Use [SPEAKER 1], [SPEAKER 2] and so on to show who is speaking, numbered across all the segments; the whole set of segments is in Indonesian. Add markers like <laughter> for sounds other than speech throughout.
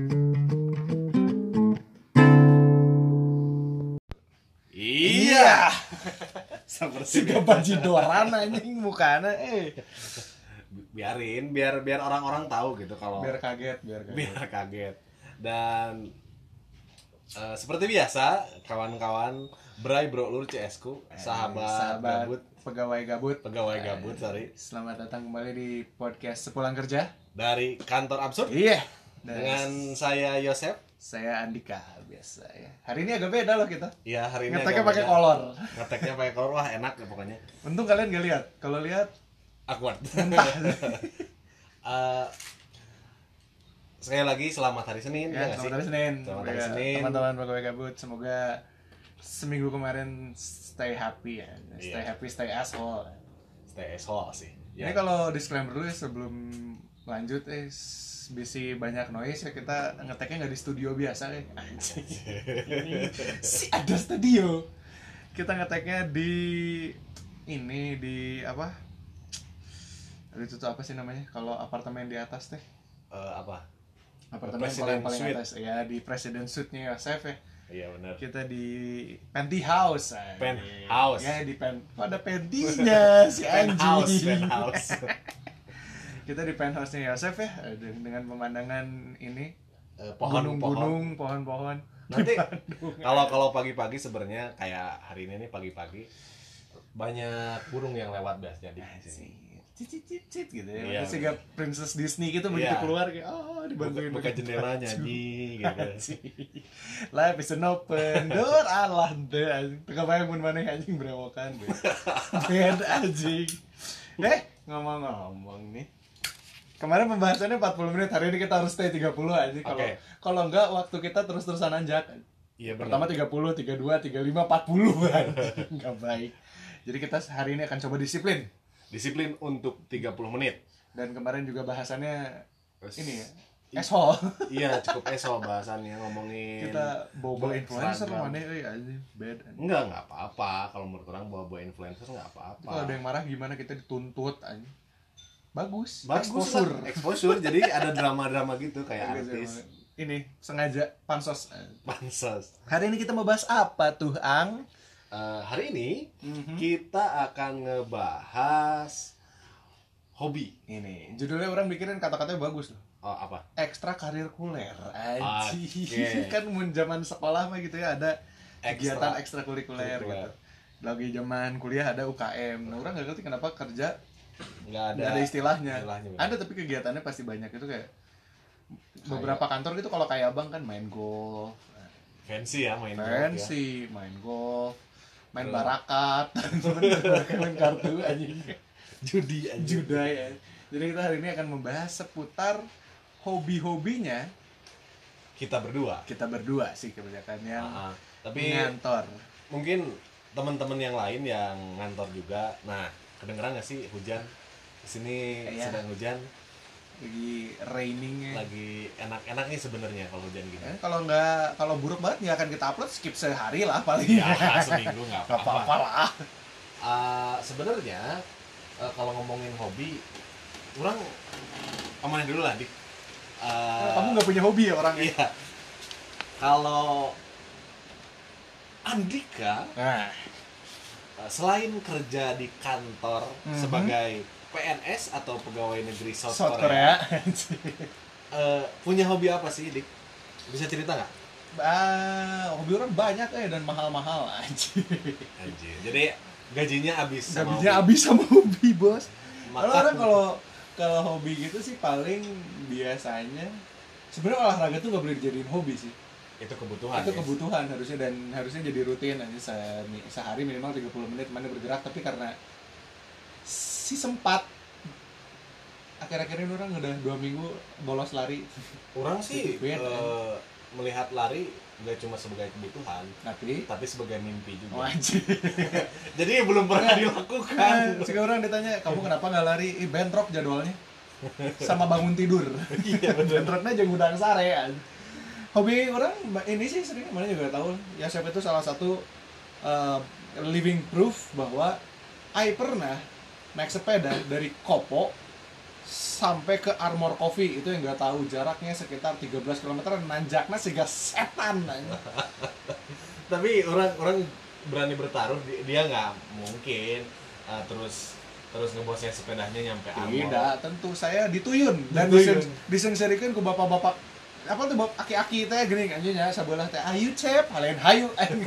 [SPEAKER 1] <laughs> Iya.
[SPEAKER 2] Seperti
[SPEAKER 1] Sudah baji doran anjing mukanya eh.
[SPEAKER 2] biarin biar biar orang-orang tahu gitu kalau
[SPEAKER 1] Biar kaget, biar kaget.
[SPEAKER 2] biar kaget dan eh, seperti biasa kawan-kawan Bray Bro Lur CS ku sahabat,
[SPEAKER 1] Eh, sahabat Eh.
[SPEAKER 2] gabut
[SPEAKER 1] pegawai gabut.
[SPEAKER 2] pegawai gabut sorry
[SPEAKER 1] Selamat datang kembali di podcast Sepulang Kerja.
[SPEAKER 2] dari kantor absurd
[SPEAKER 1] Iya. Dan
[SPEAKER 2] dengan saya Yosep
[SPEAKER 1] saya Andika biasa ya. Hari ini agak beda loh kita.
[SPEAKER 2] ya hari ini
[SPEAKER 1] Ngeteknya
[SPEAKER 2] agak
[SPEAKER 1] pakai
[SPEAKER 2] beda.
[SPEAKER 1] kolor.
[SPEAKER 2] ngeteknya pakai kolor wah enak ya pokoknya
[SPEAKER 1] Untung kalian gak lihat. Kalau lihat <laughs>
[SPEAKER 2] awkward Eh, sekali lagi selamat hari Senin ya,
[SPEAKER 1] ya,
[SPEAKER 2] nggak
[SPEAKER 1] selamat
[SPEAKER 2] sih?
[SPEAKER 1] hari Senin.
[SPEAKER 2] Selamat hari
[SPEAKER 1] Ya,
[SPEAKER 2] Senin.
[SPEAKER 1] Teman-teman pegawai gabut, semoga seminggu kemarin stay happy ya. Stay
[SPEAKER 2] Iya.
[SPEAKER 1] happy, stay asshole.
[SPEAKER 2] stay asshole sih
[SPEAKER 1] Ini kalau disclaimer dulu ya sebelum lanjut eh s- bisi banyak noise ya kita ngeteknya nggak di studio biasa eh. Anjing. si ada studio. Kita ngeteknya di ini di apa? Aduh, Itu tuh apa sih namanya? Kalau apartemen di atas teh.
[SPEAKER 2] Eh, apa
[SPEAKER 1] Apartemen
[SPEAKER 2] President
[SPEAKER 1] paling paling
[SPEAKER 2] Suite.
[SPEAKER 1] atas ya di President Suite-nya Yosef ya.
[SPEAKER 2] iya benar
[SPEAKER 1] Kita di penthouse. anjing.
[SPEAKER 2] Penthouse.
[SPEAKER 1] Ya di pen. Kok ada pentinya si anjing.
[SPEAKER 2] penthouse
[SPEAKER 1] <laughs>
[SPEAKER 2] penthouse
[SPEAKER 1] kita di penthouse nya Yosef ya eh, de- dengan pemandangan ini
[SPEAKER 2] Eh, pohon-pohon
[SPEAKER 1] gunung-gunung pohon-pohon <laughs>
[SPEAKER 2] nanti kalau kalau pagi-pagi sebenarnya kayak hari ini nih pagi-pagi banyak burung yang lewat biasanya di sini
[SPEAKER 1] cicit-cicit gitu ya
[SPEAKER 2] Ya, Iya,
[SPEAKER 1] terus kayak princess Disney gitu begitu
[SPEAKER 2] Iya.
[SPEAKER 1] keluar kayak oh
[SPEAKER 2] buka,
[SPEAKER 1] dibantuin
[SPEAKER 2] buka
[SPEAKER 1] pakai
[SPEAKER 2] jendela
[SPEAKER 1] baju.
[SPEAKER 2] nyanyi gitu
[SPEAKER 1] Anjing. <laughs> life is an open door alah deh anjing tengah bayang pun mana anjing berewokan
[SPEAKER 2] <laughs>
[SPEAKER 1] deh bed anjing deh ngomong-ngomong nih Kemarin pembahasannya 40 menit, hari ini kita harus stay 30 anjing Kalau
[SPEAKER 2] Oke.
[SPEAKER 1] kalau enggak waktu kita terus-terusan anjak.
[SPEAKER 2] iya
[SPEAKER 1] Pertama
[SPEAKER 2] benar
[SPEAKER 1] 30, 32, 35, <laughs> 40 kan. Nggak baik. Jadi kita hari ini akan coba disiplin.
[SPEAKER 2] disiplin untuk 30 menit
[SPEAKER 1] Dan kemarin juga bahasannya
[SPEAKER 2] Terus-
[SPEAKER 1] ini ya. Asshole. <laughs>
[SPEAKER 2] iya cukup esok bahasannya ya, ngomongin
[SPEAKER 1] kita bobo
[SPEAKER 2] Seragam.
[SPEAKER 1] influencer mana euy anjing, bad. anjing.
[SPEAKER 2] enggak enggak apa-apa kalau menurut orang bawa bawa influencer enggak apa-apa
[SPEAKER 1] Kalau ada yang marah gimana kita dituntut anjing. Bagus. Eh,
[SPEAKER 2] Bagus
[SPEAKER 1] Exposure.
[SPEAKER 2] lah. exposure jadi ada drama-drama gitu kayak
[SPEAKER 1] Bagus,
[SPEAKER 2] artis
[SPEAKER 1] emang. Iya, Ini sengaja pansos.
[SPEAKER 2] pansos
[SPEAKER 1] Hari ini kita mau bahas apa tuh, Ang?
[SPEAKER 2] Eh, hari ini
[SPEAKER 1] Mhm.
[SPEAKER 2] kita akan ngebahas hobi
[SPEAKER 1] Ini judulnya orang mikirin kata-katanya bagus loh.
[SPEAKER 2] oh, apa
[SPEAKER 1] ekstra kurikuler
[SPEAKER 2] Oke.
[SPEAKER 1] anjing <laughs> kan mun zaman sekolah mah gitu ya ada kegiatan ekstrakurikuler gitu
[SPEAKER 2] Kurikuler.
[SPEAKER 1] lagi zaman kuliah ada UKM nah orang nggak ngerti kenapa kerja
[SPEAKER 2] nggak ada,
[SPEAKER 1] nggak ada istilahnya, Kan?
[SPEAKER 2] istilahnya, bener.
[SPEAKER 1] ada tapi kegiatannya pasti banyak itu kayak beberapa kantor gitu kalau kayak abang kan main golf
[SPEAKER 2] fancy ya main golf ya.
[SPEAKER 1] fancy main golf main
[SPEAKER 2] Terus. <laughs>
[SPEAKER 1] barakat Bener, main kartu anjing
[SPEAKER 2] judi aja
[SPEAKER 1] Juda ya. Jadi kita hari ini akan membahas seputar hobi-hobinya
[SPEAKER 2] kita berdua
[SPEAKER 1] kita berdua sih kebanyakan yang
[SPEAKER 2] Ah, ah. tapi
[SPEAKER 1] ngantor
[SPEAKER 2] mungkin teman-teman yang lain yang ngantor juga nah kedengeran nggak sih hujan di sini
[SPEAKER 1] Iya.
[SPEAKER 2] sedang hujan
[SPEAKER 1] lagi raining ya.
[SPEAKER 2] lagi enak-enak nih sebenarnya kalau hujan gini
[SPEAKER 1] Eh, kalau nggak kalau buruk banget nggak akan kita upload skip sehari lah paling
[SPEAKER 2] ya
[SPEAKER 1] ya. <laughs>
[SPEAKER 2] seminggu nggak
[SPEAKER 1] Nggak
[SPEAKER 2] apa-apa
[SPEAKER 1] apa-apa lah.
[SPEAKER 2] Eh, sebenarnya eh, kalau ngomongin hobi orang ngomongin dulu lah dik Eh,
[SPEAKER 1] Kamu nggak punya hobi ya orangnya.
[SPEAKER 2] iya kalau Andika
[SPEAKER 1] Nah,
[SPEAKER 2] eh, selain kerja di kantor
[SPEAKER 1] Mhm.
[SPEAKER 2] sebagai PNS atau pegawai negeri South,
[SPEAKER 1] South
[SPEAKER 2] Korea,
[SPEAKER 1] Korea.
[SPEAKER 2] eh, punya hobi apa sih dik bisa cerita nggak
[SPEAKER 1] <laughs> Ah, hobi orang banyak eh dan mahal-mahal anjir.
[SPEAKER 2] Anjir. jadi gajinya habis sama hobi.
[SPEAKER 1] Gajinya habis sama hobi, Bos.
[SPEAKER 2] Maka-
[SPEAKER 1] Kalau orang kalau kalau hobi gitu sih paling biasanya sebenarnya olahraga tuh nggak boleh dijadiin hobi sih.
[SPEAKER 2] itu kebutuhan
[SPEAKER 1] itu
[SPEAKER 2] ya.
[SPEAKER 1] kebutuhan harusnya dan harusnya jadi rutin aja se- sehari minimal 30 menit mana bergerak tapi karena si sempat akhir-akhir ini orang udah dua minggu bolos lari
[SPEAKER 2] Orang sih
[SPEAKER 1] Sedikit,
[SPEAKER 2] eh, melihat lari nggak cuma sebagai kebutuhan,
[SPEAKER 1] tapi
[SPEAKER 2] tapi sebagai mimpi juga.
[SPEAKER 1] wajib
[SPEAKER 2] <laughs> Jadi belum pernah dilakukan.
[SPEAKER 1] Eh, sekarang orang ditanya kamu kenapa nggak lari Ih, bentrok jadwalnya sama bangun tidur
[SPEAKER 2] Iya benar.
[SPEAKER 1] bentroknya jeung udang sare an. hobi orang ini sih sering kemarin juga tahu ya siapa itu salah satu eh, living proof bahwa I pernah naik sepeda dari Kopo sampai ke Armor Coffee itu yang nggak tahu jaraknya sekitar 13 km nanjaknya sehingga setan anjing.
[SPEAKER 2] Tapi orang orang berani bertaruh di- dia nggak mungkin eh, terus terus ngebosnya sepedanya nyampe
[SPEAKER 1] Tidak, tentu saya dituyun dan
[SPEAKER 2] Dituyun.
[SPEAKER 1] disen, disensirikan ke bapak-bapak apa tuh bapak aki-aki teh gini anjing ya sabelah teh ayu cep halen hayu
[SPEAKER 2] <laughs>
[SPEAKER 1] eh, aing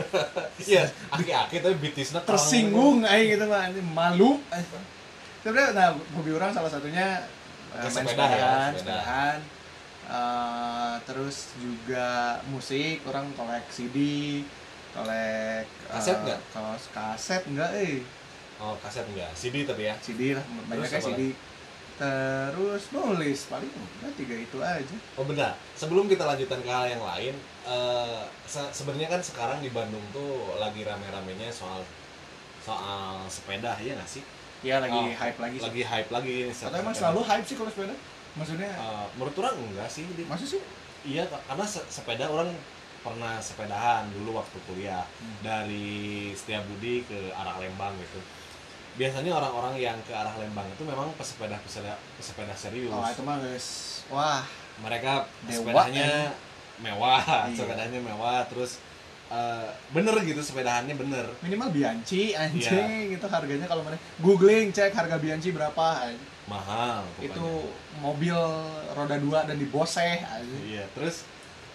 [SPEAKER 2] Iya, aki-aki tapi bitisnya kerang.
[SPEAKER 1] tersinggung aing gitu mah anjing malu anjing. Sebenarnya nah hobi orang salah satunya
[SPEAKER 2] Ya,
[SPEAKER 1] eh, main
[SPEAKER 2] sepeda ya,
[SPEAKER 1] sepedaan,
[SPEAKER 2] sepeda.
[SPEAKER 1] sepedaan. Eh, terus juga musik, orang kolek CD, kolek eh,
[SPEAKER 2] Kaset nggak?
[SPEAKER 1] kaos- kaset enggak eh.
[SPEAKER 2] Oh, kaset enggak. CD tapi ya.
[SPEAKER 1] CD lah, banyaknya
[SPEAKER 2] apa
[SPEAKER 1] CD. Terus nulis paling udah tiga itu aja.
[SPEAKER 2] Oh, benar. Sebelum kita lanjutkan ke hal yang lain, eh, se- sebenarnya kan sekarang di Bandung tuh lagi rame-ramenya soal soal sepeda ya nggak sih?
[SPEAKER 1] Ya lagi
[SPEAKER 2] Oh,
[SPEAKER 1] hype lagi. sih.
[SPEAKER 2] Lagi hype lagi.
[SPEAKER 1] Atau
[SPEAKER 2] sepeda.
[SPEAKER 1] emang selalu hype sih kalau sepeda? Maksudnya
[SPEAKER 2] Eh, menurut orang enggak sih. Dit.
[SPEAKER 1] maksud sih?
[SPEAKER 2] Iya, karena se- sepeda orang pernah sepedahan dulu waktu kuliah
[SPEAKER 1] Hmm.
[SPEAKER 2] dari Setiabudi ke arah Lembang gitu. Biasanya orang-orang yang ke arah Lembang itu memang pesepeda pesepeda, pesepeda serius.
[SPEAKER 1] Oh, itu mah guys. Wah,
[SPEAKER 2] Mereka
[SPEAKER 1] Dewa,
[SPEAKER 2] sepedanya mewah,
[SPEAKER 1] ya. Iya.
[SPEAKER 2] sepedanya mewah, terus eh, bener gitu sepedahannya bener.
[SPEAKER 1] minimal Bianchi anjing itu harganya kalau mana googling cek harga Bianchi berapa anjing.
[SPEAKER 2] Mahal. pokoknya.
[SPEAKER 1] itu mobil roda dua dan diboseh anjing.
[SPEAKER 2] Iya, terus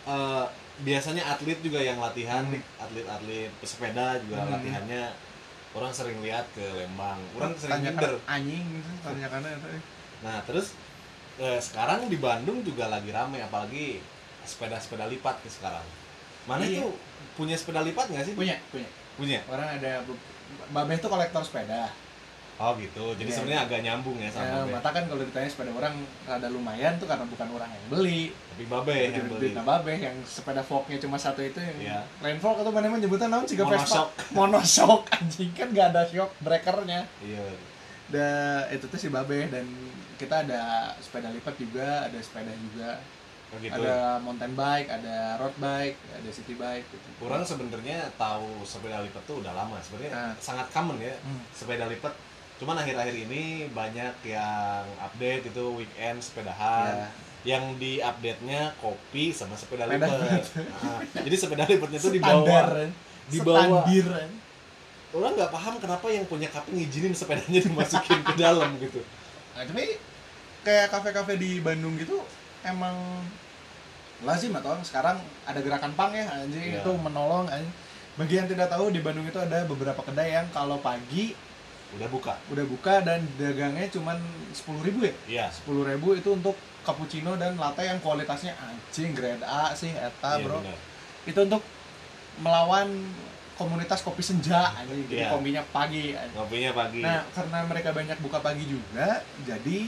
[SPEAKER 2] eh, biasanya atlet juga yang latihan,
[SPEAKER 1] Hmm.
[SPEAKER 2] atlet-atlet pesepeda juga
[SPEAKER 1] Hmm.
[SPEAKER 2] latihannya orang sering lihat ke Lembang, orang sering
[SPEAKER 1] Tanyakan
[SPEAKER 2] minder.
[SPEAKER 1] anjing gitu, tanyakannya itu.
[SPEAKER 2] Nah, terus eh, sekarang di Bandung juga lagi rame apalagi sepeda-sepeda lipat nih sekarang. Mana
[SPEAKER 1] Iya.
[SPEAKER 2] tuh punya sepeda lipat nggak sih?
[SPEAKER 1] punya punya
[SPEAKER 2] Punya.
[SPEAKER 1] orang ada Babeh tuh kolektor sepeda
[SPEAKER 2] Oh gitu. Jadi
[SPEAKER 1] Iya.
[SPEAKER 2] sebenarnya agak nyambung ya sama
[SPEAKER 1] Nah,
[SPEAKER 2] Babe.
[SPEAKER 1] mata kan kalau ditanya sepeda orang rada lumayan tuh karena bukan orang yang beli
[SPEAKER 2] Tapi Babe
[SPEAKER 1] Itu
[SPEAKER 2] yang
[SPEAKER 1] jadi
[SPEAKER 2] Iya, beli.
[SPEAKER 1] Nah, Babeh yang sepeda vlognya cuma satu itu yang
[SPEAKER 2] Iya.
[SPEAKER 1] lain vlog atau mana menyebutnya naon Ciga Vespa
[SPEAKER 2] Monoshock.
[SPEAKER 1] <laughs> monoshock anjing kan gak ada shock breakernya
[SPEAKER 2] Iya.
[SPEAKER 1] da, itu tuh si Babeh dan kita ada sepeda lipat juga ada sepeda juga
[SPEAKER 2] Oh gitu.
[SPEAKER 1] ada mountain bike ada road bike ada city bike gitu
[SPEAKER 2] Orang sebenarnya tahu sepeda lipat tuh udah lama. Sebenarnya
[SPEAKER 1] Ah.
[SPEAKER 2] sangat common ya
[SPEAKER 1] Hmm.
[SPEAKER 2] sepeda lipat. Cuman akhir-akhir ini banyak yang update itu weekend sepedahan.
[SPEAKER 1] Iya.
[SPEAKER 2] Yang di update-nya kopi sama sepeda
[SPEAKER 1] Sepeda
[SPEAKER 2] lipat. Ah, jadi sepeda lipatnya itu
[SPEAKER 1] Standar,
[SPEAKER 2] dibawa.
[SPEAKER 1] eh.
[SPEAKER 2] dibawa.
[SPEAKER 1] Standir, eh.
[SPEAKER 2] Orang nggak paham kenapa yang punya kafe ngizinin sepedanya dimasukin ke dalam gitu.
[SPEAKER 1] Nah, tapi kayak kafe-kafe di Bandung gitu emang lazim atau orang sekarang ada gerakan pang ya anjing
[SPEAKER 2] Iya.
[SPEAKER 1] itu menolong anjing. Bagi yang tidak tahu di Bandung itu ada beberapa kedai yang kalau pagi
[SPEAKER 2] Udah buka.
[SPEAKER 1] udah buka dan dagangnya cuman 10.000
[SPEAKER 2] Iya.
[SPEAKER 1] ya. 10.000 itu untuk cappuccino dan latte yang kualitasnya anjing grade A sih
[SPEAKER 2] iya,
[SPEAKER 1] eta Ah, bro.
[SPEAKER 2] benar.
[SPEAKER 1] Itu untuk melawan komunitas kopi senja anjing. Jadi
[SPEAKER 2] Iya.
[SPEAKER 1] kombinya pagi anjing.
[SPEAKER 2] Ngopinya pagi.
[SPEAKER 1] Nah, karena mereka banyak buka pagi juga, jadi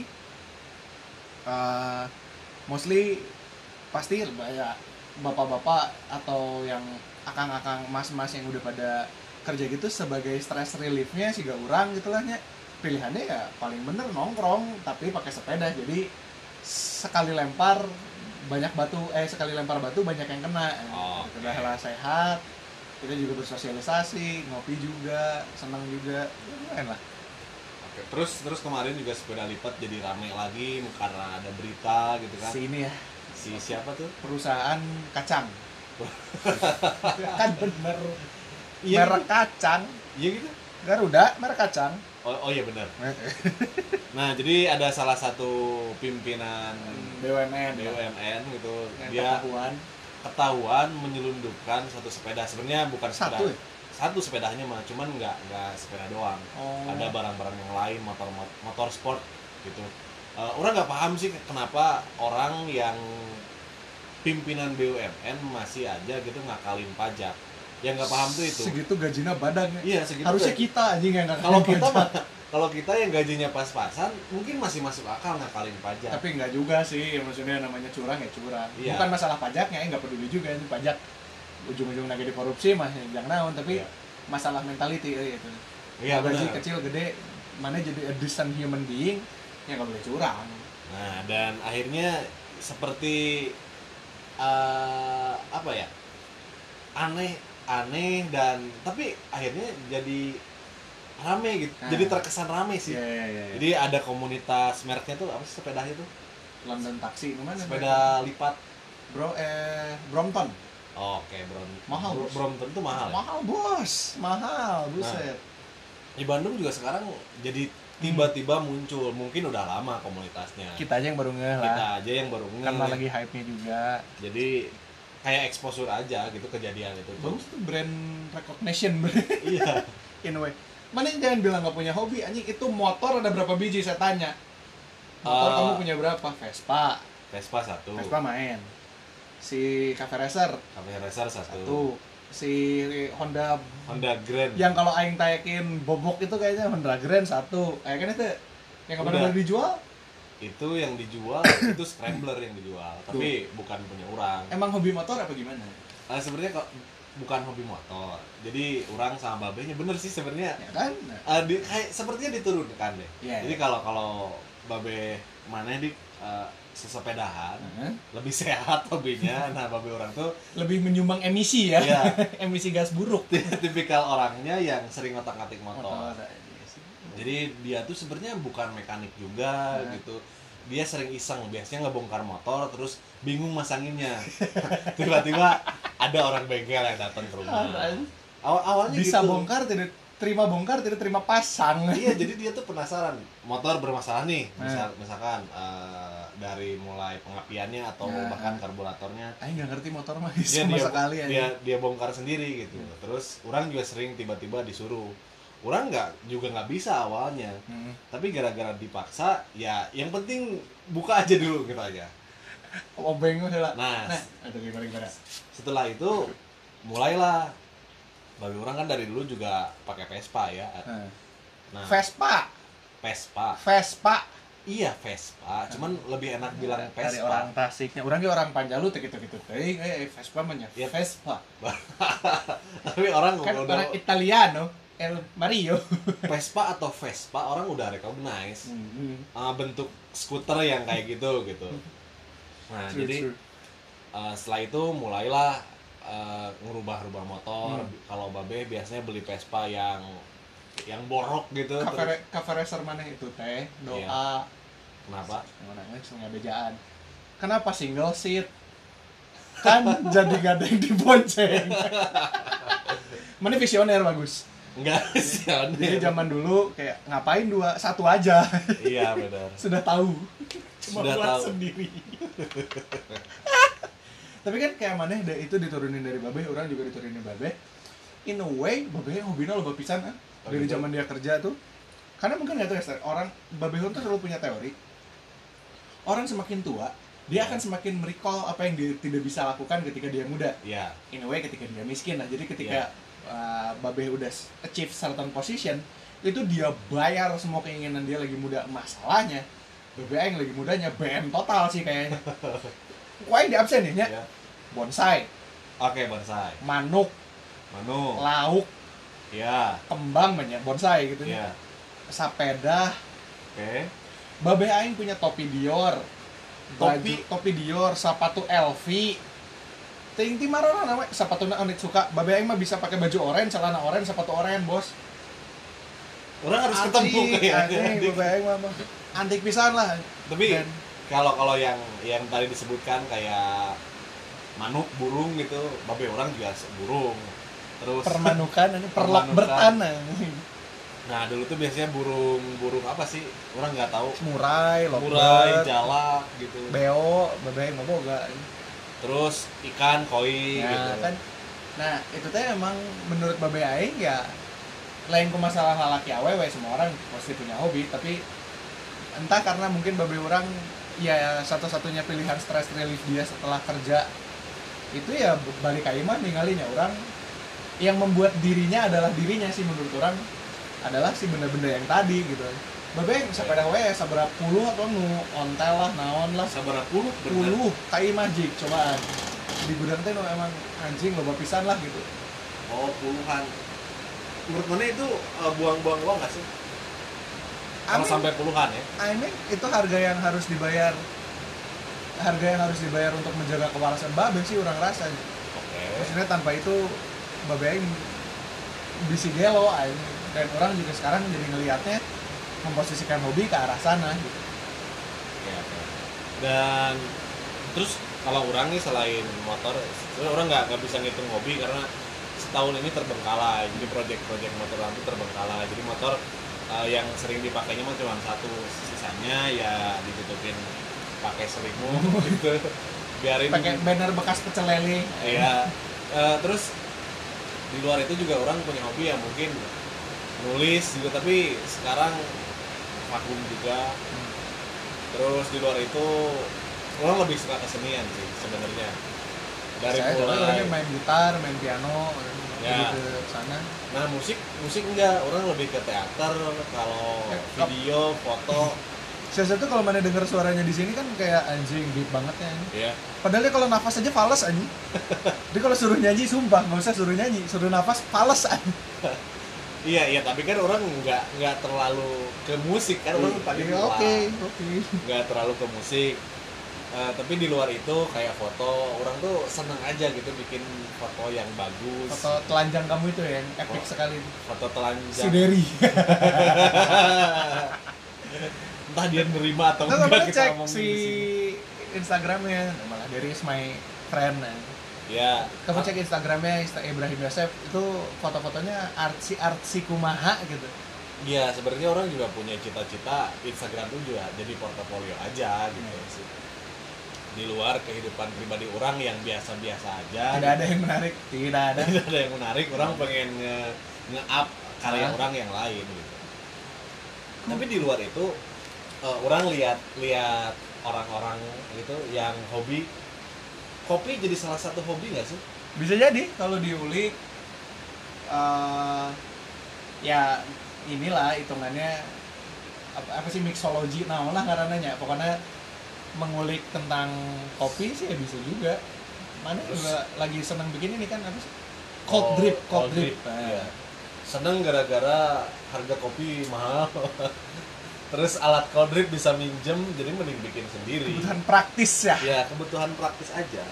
[SPEAKER 1] eh, mostly pasti banyak bapak-bapak atau yang akang-akang mas-mas yang udah pada kerja gitu sebagai stress reliefnya sih gak orang gitu lah nya. Pilihannya ya paling bener nongkrong tapi pakai sepeda. Jadi sekali lempar banyak batu eh sekali lempar batu banyak yang kena.
[SPEAKER 2] Oh,
[SPEAKER 1] Gitu. Udah lah sehat. Kita juga bersosialisasi, ngopi juga, senang juga. Ya, lumayan lah.
[SPEAKER 2] Oke, Terus terus kemarin juga sepeda lipat jadi rame lagi karena ada berita gitu kan.
[SPEAKER 1] si ini ya
[SPEAKER 2] si siapa tuh?
[SPEAKER 1] perusahaan kacang <laughs> kan bener
[SPEAKER 2] Iya
[SPEAKER 1] merek kacang
[SPEAKER 2] Iya gitu.
[SPEAKER 1] Garuda merek <laughs> kacang
[SPEAKER 2] Oh, oh iya benar. Nah, jadi ada salah satu pimpinan
[SPEAKER 1] BUMN ya.
[SPEAKER 2] BUMN gitu,
[SPEAKER 1] yang
[SPEAKER 2] dia
[SPEAKER 1] ketahuan
[SPEAKER 2] ketahuan menyelundupkan satu sepeda. Sebenarnya bukan sepeda.
[SPEAKER 1] satu ya?
[SPEAKER 2] Satu sepedanya mah, cuman nggak nggak sepeda doang.
[SPEAKER 1] oh
[SPEAKER 2] Ada barang-barang yang lain, motor motor sport gitu. Eh, orang nggak paham sih kenapa orang yang pimpinan BUMN masih aja gitu ngakalin pajak. Yang nggak paham tuh itu.
[SPEAKER 1] segitu gajinya badan ya.
[SPEAKER 2] Iya, segitu
[SPEAKER 1] harusnya
[SPEAKER 2] kan.
[SPEAKER 1] kita aja <laughs> yang gitu. nggak
[SPEAKER 2] kalau kita mah kalau kita yang gajinya pas-pasan mungkin masih masuk akal ngakalin pajak
[SPEAKER 1] tapi nggak juga sih maksudnya namanya curang ya curang
[SPEAKER 2] Iya.
[SPEAKER 1] bukan masalah pajaknya ya nggak peduli juga itu pajak ujung-ujung lagi di korupsi mah ya jangan naon tapi
[SPEAKER 2] Iya.
[SPEAKER 1] masalah mentality eh, itu
[SPEAKER 2] iya
[SPEAKER 1] gaji
[SPEAKER 2] benar
[SPEAKER 1] kecil gede mana jadi a decent human being ya nggak boleh curang
[SPEAKER 2] nah dan akhirnya seperti eh, apa ya aneh aneh dan tapi akhirnya jadi rame gitu
[SPEAKER 1] Nah.
[SPEAKER 2] jadi terkesan rame sih
[SPEAKER 1] Iya, iya, iya.
[SPEAKER 2] jadi ada komunitas mereknya tuh apa sih sepedanya tuh
[SPEAKER 1] London taksi gimana?
[SPEAKER 2] sepeda lipat
[SPEAKER 1] bro eh Brompton.
[SPEAKER 2] Oke, Brown.
[SPEAKER 1] Mahal,
[SPEAKER 2] Bro-
[SPEAKER 1] Bos.
[SPEAKER 2] Brown tentu mahal. Ya?
[SPEAKER 1] mahal Nah. bos mahal buset
[SPEAKER 2] Di Bandung juga sekarang jadi
[SPEAKER 1] Hmm.
[SPEAKER 2] tiba-tiba muncul. Mungkin udah lama komunitasnya.
[SPEAKER 1] kita aja yang baru ngeh
[SPEAKER 2] Kita
[SPEAKER 1] lah
[SPEAKER 2] aja yang baru nge.
[SPEAKER 1] karena lagi hype nya juga
[SPEAKER 2] Jadi kayak exposure aja gitu kejadian itu tuh.
[SPEAKER 1] bagus tuh brand recognition <laughs>
[SPEAKER 2] iya.
[SPEAKER 1] in a way mana yang jangan bilang nggak punya hobi anjing itu motor ada berapa biji saya tanya motor
[SPEAKER 2] Eh.
[SPEAKER 1] kamu punya berapa Vespa
[SPEAKER 2] Vespa satu,
[SPEAKER 1] Vespa main si Cafe Racer
[SPEAKER 2] Cafe Racer satu,
[SPEAKER 1] satu si Honda
[SPEAKER 2] Honda Grand.
[SPEAKER 1] yang kalau aing tayakin bobok itu kayaknya Honda Grand satu eh kan itu yang kemarin
[SPEAKER 2] Udah.
[SPEAKER 1] baru dijual
[SPEAKER 2] itu yang
[SPEAKER 1] <coughs>
[SPEAKER 2] dijual itu scrambler yang dijual tapi bukan punya orang
[SPEAKER 1] emang hobi motor apa gimana
[SPEAKER 2] Eh, sebenarnya kok bukan hobi motor jadi orang sama babenya bener sih sebenarnya
[SPEAKER 1] ya kan Nah,
[SPEAKER 2] Eh, di- kayak sepertinya diturunkan deh
[SPEAKER 1] Iya,
[SPEAKER 2] jadi
[SPEAKER 1] iya.
[SPEAKER 2] kalau kalau babe mana di eh, sesepedahan
[SPEAKER 1] heeh.
[SPEAKER 2] lebih <laughs> sehat hobinya nah babe orang tuh
[SPEAKER 1] lebih menyumbang emisi ya
[SPEAKER 2] ya
[SPEAKER 1] <laughs> emisi gas buruk
[SPEAKER 2] tipikal orangnya yang sering ngotak-ngatik motor
[SPEAKER 1] motor iya sih.
[SPEAKER 2] jadi dia tuh sebenarnya bukan mekanik juga
[SPEAKER 1] Nah.
[SPEAKER 2] gitu dia sering iseng biasanya ngebongkar motor terus bingung masanginnya <laughs> tiba-tiba ada orang bengkel yang datang ke rumah
[SPEAKER 1] Apaan?
[SPEAKER 2] Awal awalnya
[SPEAKER 1] bisa
[SPEAKER 2] gitu.
[SPEAKER 1] bongkar tidak terima bongkar tidak terima pasang
[SPEAKER 2] <laughs> iya jadi dia tuh penasaran motor bermasalah nih
[SPEAKER 1] Nah.
[SPEAKER 2] misal- misalkan eh, dari mulai pengapiannya atau
[SPEAKER 1] Nah.
[SPEAKER 2] bahkan karburatornya
[SPEAKER 1] Aing nggak ngerti motor mah
[SPEAKER 2] dia Iya,
[SPEAKER 1] sama
[SPEAKER 2] dia,
[SPEAKER 1] sekali ya.
[SPEAKER 2] dia dia bongkar sendiri gitu
[SPEAKER 1] Iya.
[SPEAKER 2] terus orang juga sering tiba-tiba disuruh orang nggak juga nggak bisa awalnya
[SPEAKER 1] Hmm.
[SPEAKER 2] tapi gara-gara dipaksa ya yang penting buka aja dulu gitu aja
[SPEAKER 1] Obeng udah lah.
[SPEAKER 2] nah
[SPEAKER 1] Nah, atau gimana gimana.
[SPEAKER 2] setelah itu mulailah bagi orang kan dari dulu juga pakai Vespa ya
[SPEAKER 1] Nah.
[SPEAKER 2] nah
[SPEAKER 1] Vespa,
[SPEAKER 2] Vespa
[SPEAKER 1] Vespa.
[SPEAKER 2] iya Vespa cuman lebih enak bilang
[SPEAKER 1] Dari
[SPEAKER 2] Vespa <laughs>
[SPEAKER 1] orang Tasiknya, orang ge orang Panjalu teh gitu-gitu teuing eh Vespa mah nya.
[SPEAKER 2] Iya.
[SPEAKER 1] Vespa.
[SPEAKER 2] tapi orang
[SPEAKER 1] Kan
[SPEAKER 2] udah
[SPEAKER 1] orang Italiano, El Mario.
[SPEAKER 2] Vespa atau Vespa orang udah recognize Ah, bentuk skuter yang kayak gitu gitu nah
[SPEAKER 1] True,
[SPEAKER 2] jadi
[SPEAKER 1] true.
[SPEAKER 2] Uh, setelah itu mulailah uh, ngerubah-rubah motor.
[SPEAKER 1] Hmm.
[SPEAKER 2] Kalau Babe biasanya beli Vespa yang yang borok gitu.
[SPEAKER 1] Cafe,
[SPEAKER 2] Terus,
[SPEAKER 1] cafe racer mana itu teh doa
[SPEAKER 2] Iya. kenapa?
[SPEAKER 1] yang mana eh, sungai bejaan kenapa single seat kan <laughs> jadi gading
[SPEAKER 2] <laughs>
[SPEAKER 1] dibonceng mana visioner bagus
[SPEAKER 2] Enggak <laughs> Sion.
[SPEAKER 1] Jadi zaman dulu kayak ngapain dua satu aja
[SPEAKER 2] Iya benar.
[SPEAKER 1] sudah tahu cuma
[SPEAKER 2] Sudah
[SPEAKER 1] buat
[SPEAKER 2] tahu.
[SPEAKER 1] sendiri. <laughs> Tapi kan kayak mana da- itu diturunin dari babe, orang juga diturunin babe. In a way, babe hobina loba pisan kan?
[SPEAKER 2] Oh,
[SPEAKER 1] Dari
[SPEAKER 2] gitu.
[SPEAKER 1] zaman dia kerja tuh. Karena mungkin nggak tahu ya, Star, orang babe tuh selalu punya teori. Orang semakin tua, dia
[SPEAKER 2] Iya.
[SPEAKER 1] akan semakin merecall apa yang dia tidak bisa lakukan ketika dia muda
[SPEAKER 2] Iya.
[SPEAKER 1] in a way ketika dia miskin lah jadi ketika uh, babeh udah s- achieve certain position itu dia bayar semua keinginan dia lagi muda masalahnya babeh yang lagi mudanya BM total sih
[SPEAKER 2] <laughs>
[SPEAKER 1] kayaknya Wah di absen ya, Nya?
[SPEAKER 2] Iya.
[SPEAKER 1] bonsai,
[SPEAKER 2] Oke bonsai.
[SPEAKER 1] manuk,
[SPEAKER 2] Manu.
[SPEAKER 1] lauk,
[SPEAKER 2] Iya.
[SPEAKER 1] kembang banyak bonsai gitu
[SPEAKER 2] Iya.
[SPEAKER 1] Sapeda,
[SPEAKER 2] Oke.
[SPEAKER 1] babeh aing punya topi Dior,
[SPEAKER 2] Topi?
[SPEAKER 1] Baju- topi Dior, sepatu LV, ting ting marona namanya sepatu unik suka, babeh aing mah bisa pakai baju oranye, celana oranye, sepatu oranye bos.
[SPEAKER 2] Orang harus ketemu
[SPEAKER 1] Antik,
[SPEAKER 2] kayaknya.
[SPEAKER 1] antik,
[SPEAKER 2] Dik.
[SPEAKER 1] bebayang mama. Antik pisan lah.
[SPEAKER 2] Tapi
[SPEAKER 1] Dan
[SPEAKER 2] kalau kalau yang yang tadi disebutkan kayak manuk burung gitu, Babe orang juga se- burung. Terus
[SPEAKER 1] permanukan ini perlak
[SPEAKER 2] Permanukan.
[SPEAKER 1] bertanah.
[SPEAKER 2] nah dulu tuh biasanya burung-burung apa sih? Orang nggak tahu.
[SPEAKER 1] Murai,
[SPEAKER 2] murai,
[SPEAKER 1] lovebird,
[SPEAKER 2] jalak gitu.
[SPEAKER 1] beo, bebayang mah boga.
[SPEAKER 2] Terus ikan, koi gitu.
[SPEAKER 1] Nah, kan. Nah, itu teh emang menurut babe aing ya lain ke masalah lalaki awewe semua orang pasti punya hobi, tapi entah karena mungkin babe orang ya satu-satunya pilihan stress relief dia setelah kerja itu ya balik kaiman ninggalinya orang yang membuat dirinya adalah dirinya sih menurut orang adalah si benda-benda yang tadi gitu babe sepeda we sabra puluh atau nu ontel lah naon lah
[SPEAKER 2] Sabar aku bener.
[SPEAKER 1] puluh tai magic cobaan di gudang teh nu emang anjing loba pisan lah gitu
[SPEAKER 2] Oh, puluhan. Menurut mana itu eh, buang-buang uang nggak sih? Kalau
[SPEAKER 1] Amin.
[SPEAKER 2] sampai puluhan ya.
[SPEAKER 1] I mean itu harga yang harus dibayar harga yang harus dibayar untuk menjaga kewarasan babe sih orang rasanya
[SPEAKER 2] Oke.
[SPEAKER 1] maksudnya tanpa itu babe aing bisi gelo aing dan orang juga sekarang jadi ngelihatnya memposisikan hobi ke arah sana gitu.
[SPEAKER 2] Oke, oke. Dan Iya, terus kalau orang nih selain motor sebenarnya orang nggak nggak bisa ngitung hobi karena setahun ini terbengkalai jadi proyek-proyek motor orang itu terbengkalai jadi motor eh, yang sering dipakainya mah cuma satu sisanya ya ditutupin pakai selimut <laughs> gitu biarin
[SPEAKER 1] pakai banner bekas pecel lele
[SPEAKER 2] Iya. Eh, terus di luar itu juga orang punya hobi yang mungkin nulis juga tapi sekarang vakum juga. Terus di luar itu orang lebih suka kesenian sih sebenarnya. Dari
[SPEAKER 1] saya dulu
[SPEAKER 2] mulai
[SPEAKER 1] orangnya main gitar main piano gitu
[SPEAKER 2] Ya.
[SPEAKER 1] ke sana
[SPEAKER 2] nah musik musik enggak orang lebih ke teater kalau
[SPEAKER 1] Eh, kap-
[SPEAKER 2] video
[SPEAKER 1] <laughs>
[SPEAKER 2] foto
[SPEAKER 1] saya tuh kalau mana denger suaranya di sini kan kayak anjing deep banget ya ini.
[SPEAKER 2] ya
[SPEAKER 1] Padahal dia kalau nafas aja fales anjing. dia kalau suruh nyanyi sumpah nggak usah suruh nyanyi, suruh nafas fales anjing.
[SPEAKER 2] iya iya tapi kan orang nggak nggak terlalu ke musik kan orang paling
[SPEAKER 1] Iya, Oke, oke.
[SPEAKER 2] nggak terlalu ke musik Eh, tapi di luar itu kayak foto orang tuh seneng aja gitu bikin foto yang bagus
[SPEAKER 1] Foto telanjang kamu itu ya, yang epic
[SPEAKER 2] Oh.
[SPEAKER 1] sekali.
[SPEAKER 2] foto telanjang
[SPEAKER 1] Si Derry.
[SPEAKER 2] <laughs> entah dia nerima atau
[SPEAKER 1] Terus kemarin
[SPEAKER 2] enggak kita
[SPEAKER 1] cek
[SPEAKER 2] ngomong
[SPEAKER 1] si
[SPEAKER 2] di sini.
[SPEAKER 1] Instagramnya, malah Derry is my friend. anjing.
[SPEAKER 2] ya
[SPEAKER 1] Kamu cek Instagramnya Insta Ibrahim Yosef itu foto-fotonya artsy artsy kumaha gitu.
[SPEAKER 2] ya sebenarnya orang juga punya cita-cita Instagram tuh juga jadi portofolio aja gitu
[SPEAKER 1] Hmm.
[SPEAKER 2] sih di luar kehidupan pribadi orang yang biasa-biasa aja gitu.
[SPEAKER 1] Tidak ada yang menarik, tidak ada.
[SPEAKER 2] Tidak ada yang menarik orang pengen nge, up karya
[SPEAKER 1] Ah.
[SPEAKER 2] orang yang lain gitu tapi di luar itu eh, orang lihat lihat orang-orang gitu yang hobi kopi jadi salah satu hobi nggak sih
[SPEAKER 1] bisa jadi kalau diulik eh ya inilah hitungannya apa, apa sih mixology nah lah karenanya pokoknya mengulik tentang kopi sih ya bisa juga mana
[SPEAKER 2] Terus- Oh,
[SPEAKER 1] juga lagi seneng bikin ini kan apa sih cold drip cold, drip,
[SPEAKER 2] Iya. seneng gara-gara harga kopi mahal <laughs> terus alat cold drip bisa minjem jadi mending bikin sendiri
[SPEAKER 1] <laughs> kebutuhan praktis ya
[SPEAKER 2] ya kebutuhan praktis aja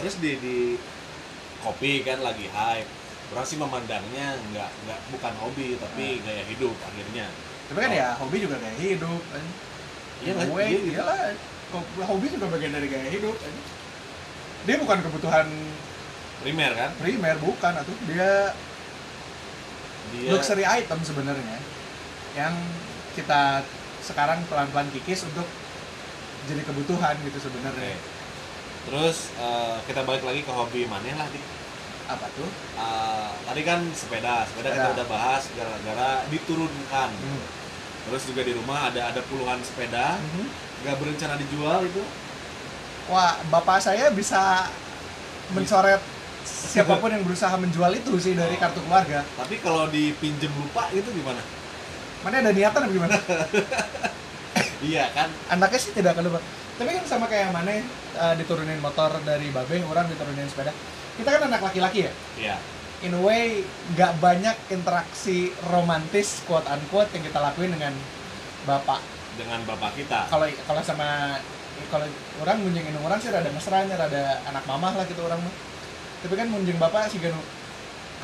[SPEAKER 2] terus di di kopi kan lagi hype orang sih memandangnya nggak nggak bukan hobi tapi gaya hidup akhirnya
[SPEAKER 1] tapi kan ya hobi juga gaya hidup kan
[SPEAKER 2] Oh. Iya,
[SPEAKER 1] In a
[SPEAKER 2] kan?
[SPEAKER 1] way,
[SPEAKER 2] Iya, iya.
[SPEAKER 1] iyalah Ko- hobi juga bagian dari gaya hidup kan. dia bukan kebutuhan
[SPEAKER 2] primer kan
[SPEAKER 1] primer bukan atau dia
[SPEAKER 2] dia
[SPEAKER 1] luxury item sebenarnya yang kita sekarang pelan-pelan kikis untuk jadi kebutuhan gitu
[SPEAKER 2] Oke.
[SPEAKER 1] sebenarnya
[SPEAKER 2] terus eh, kita balik lagi ke hobi maneh lah Dik.
[SPEAKER 1] apa tuh
[SPEAKER 2] Eh, tadi kan sepeda sepeda
[SPEAKER 1] Sepeda. Hmm.
[SPEAKER 2] kita udah bahas gara-gara diturunkan terus juga di rumah ada ada puluhan sepeda
[SPEAKER 1] Mhm.
[SPEAKER 2] nggak berencana dijual itu
[SPEAKER 1] wah bapak saya bisa mencoret siapapun yang berusaha menjual itu sih dari kartu keluarga
[SPEAKER 2] tapi kalau dipinjem lupa itu gimana
[SPEAKER 1] mana ada niatan apa gimana
[SPEAKER 2] iya kan
[SPEAKER 1] anaknya sih tidak akan lupa tapi kan sama kayak mana eh, diturunin motor dari babe orang diturunin sepeda kita kan anak laki-laki ya
[SPEAKER 2] iya
[SPEAKER 1] in a way nggak banyak interaksi romantis quote unquote yang kita lakuin dengan bapak
[SPEAKER 2] dengan bapak kita
[SPEAKER 1] kalau kalau sama kalau orang munjung indung orang sih rada mesranya rada anak mamah lah gitu orang mah tapi kan munjung bapak sih kan